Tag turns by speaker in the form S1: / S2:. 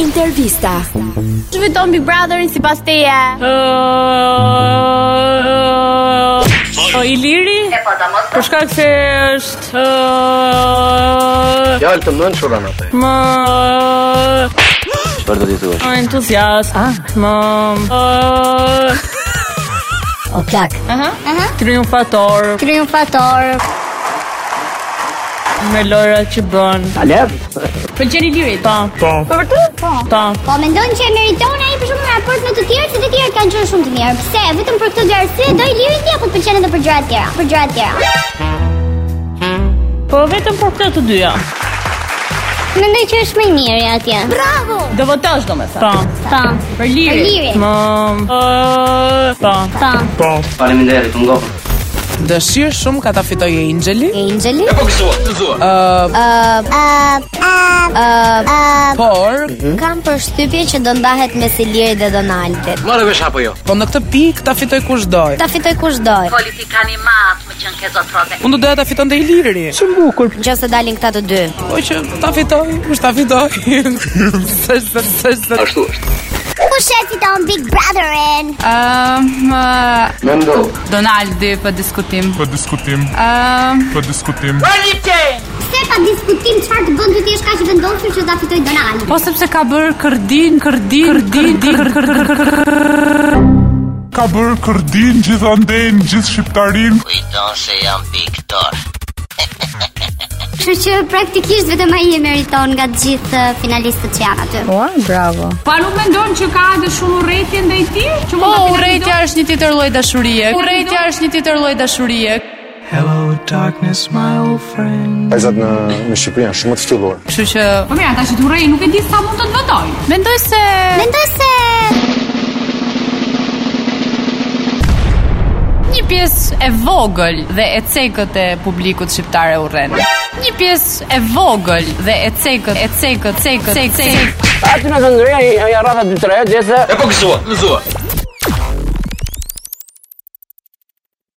S1: Intervista.
S2: Që fiton Big Brotherin si pas teje
S3: O i liri? E po da mos. Për shkak se është ë,
S4: Fjalë të mëndshura në te.
S3: më
S4: Çfarë do t'i thuash?
S3: më entuziast. Më ë,
S1: O plak.
S3: triumfator
S2: Triumfator
S3: me lojrat që bën.
S4: Alev?
S3: Pëlqen i lirit? Po. Po.
S2: Po vërtet? Po
S3: Po.
S2: Po mendojnë që e meriton ai për shumë në raport me të tjerë Se të tjerë kanë qenë shumë të mirë Pse, vetëm për këtë gjërë se do i liri ti apo të pëlqen edhe për gjëra të tjera Për gjëra të tjera
S3: Po vetëm për këtë të dyja.
S2: Mendoj që është më i miri atje Bravo
S3: Do votosh domethënë. Po.
S2: Po
S3: Për lirin.
S2: Për lirin.
S3: Më ë, po.
S2: Po
S4: Faleminderit, u ngopëm.
S5: Dëshirë shumë ka ta fitoj Angeli,
S2: Angeli
S5: por
S2: Kam përshtypje që do ndahet mes Ilirit dhe Donaldit
S4: Marrë vesh apo jo?
S5: po në këtë pikë ta fitoj kush doj.
S2: Ta fitoj kush doj
S6: politikani matë më qënë ke zotrote.
S5: Unë do doja ta fitonte Iliri.
S2: Nëse dalin këta të dy
S5: Po që ta fitoj, kush ta fitoj. S'është s'është.
S4: Ashtu është.
S2: Ku shesi ton Big Brotherin
S4: Mendo.
S7: Donaldi për diskutim.
S8: Për diskutim,
S7: Ëm,
S8: për diskutim.
S2: Pse pa diskutim çfarë të bën ti është kaq i vendosur që ta fitoj Donald?
S7: po sepse ka bër kërdin, kërdin, kërdin, kërdin.
S8: Ka bërë kërdin gjithë anden, gjithë shqiptarin.
S2: Kështu që praktikisht vetëm ai e meriton nga të gjithë eh, finalistët që janë aty.
S6: Pa nuk mendon që ka edhe shumë urrejtje ndaj ti? Që
S7: Po urrejtja është një tjetër lloj dashurie. Urrejtja është një tjetër lloj dashurie.
S9: Vajzat në në Shqipëri janë shumë të ftyllur.
S7: Kështu që
S6: Po mirë, ata që të urrej nuk e di sa mund të të votoj.
S7: mendoj se
S2: Mendoj se
S7: një pjesë e vogël dhe e cekët e publikut shqiptar e urren. Një pjesë e vogël dhe e cekët, e cekët, cekët, cekët, cekët.
S4: Aty në këndëria i rrata 2-3 desa. E po gëzua, gëzua.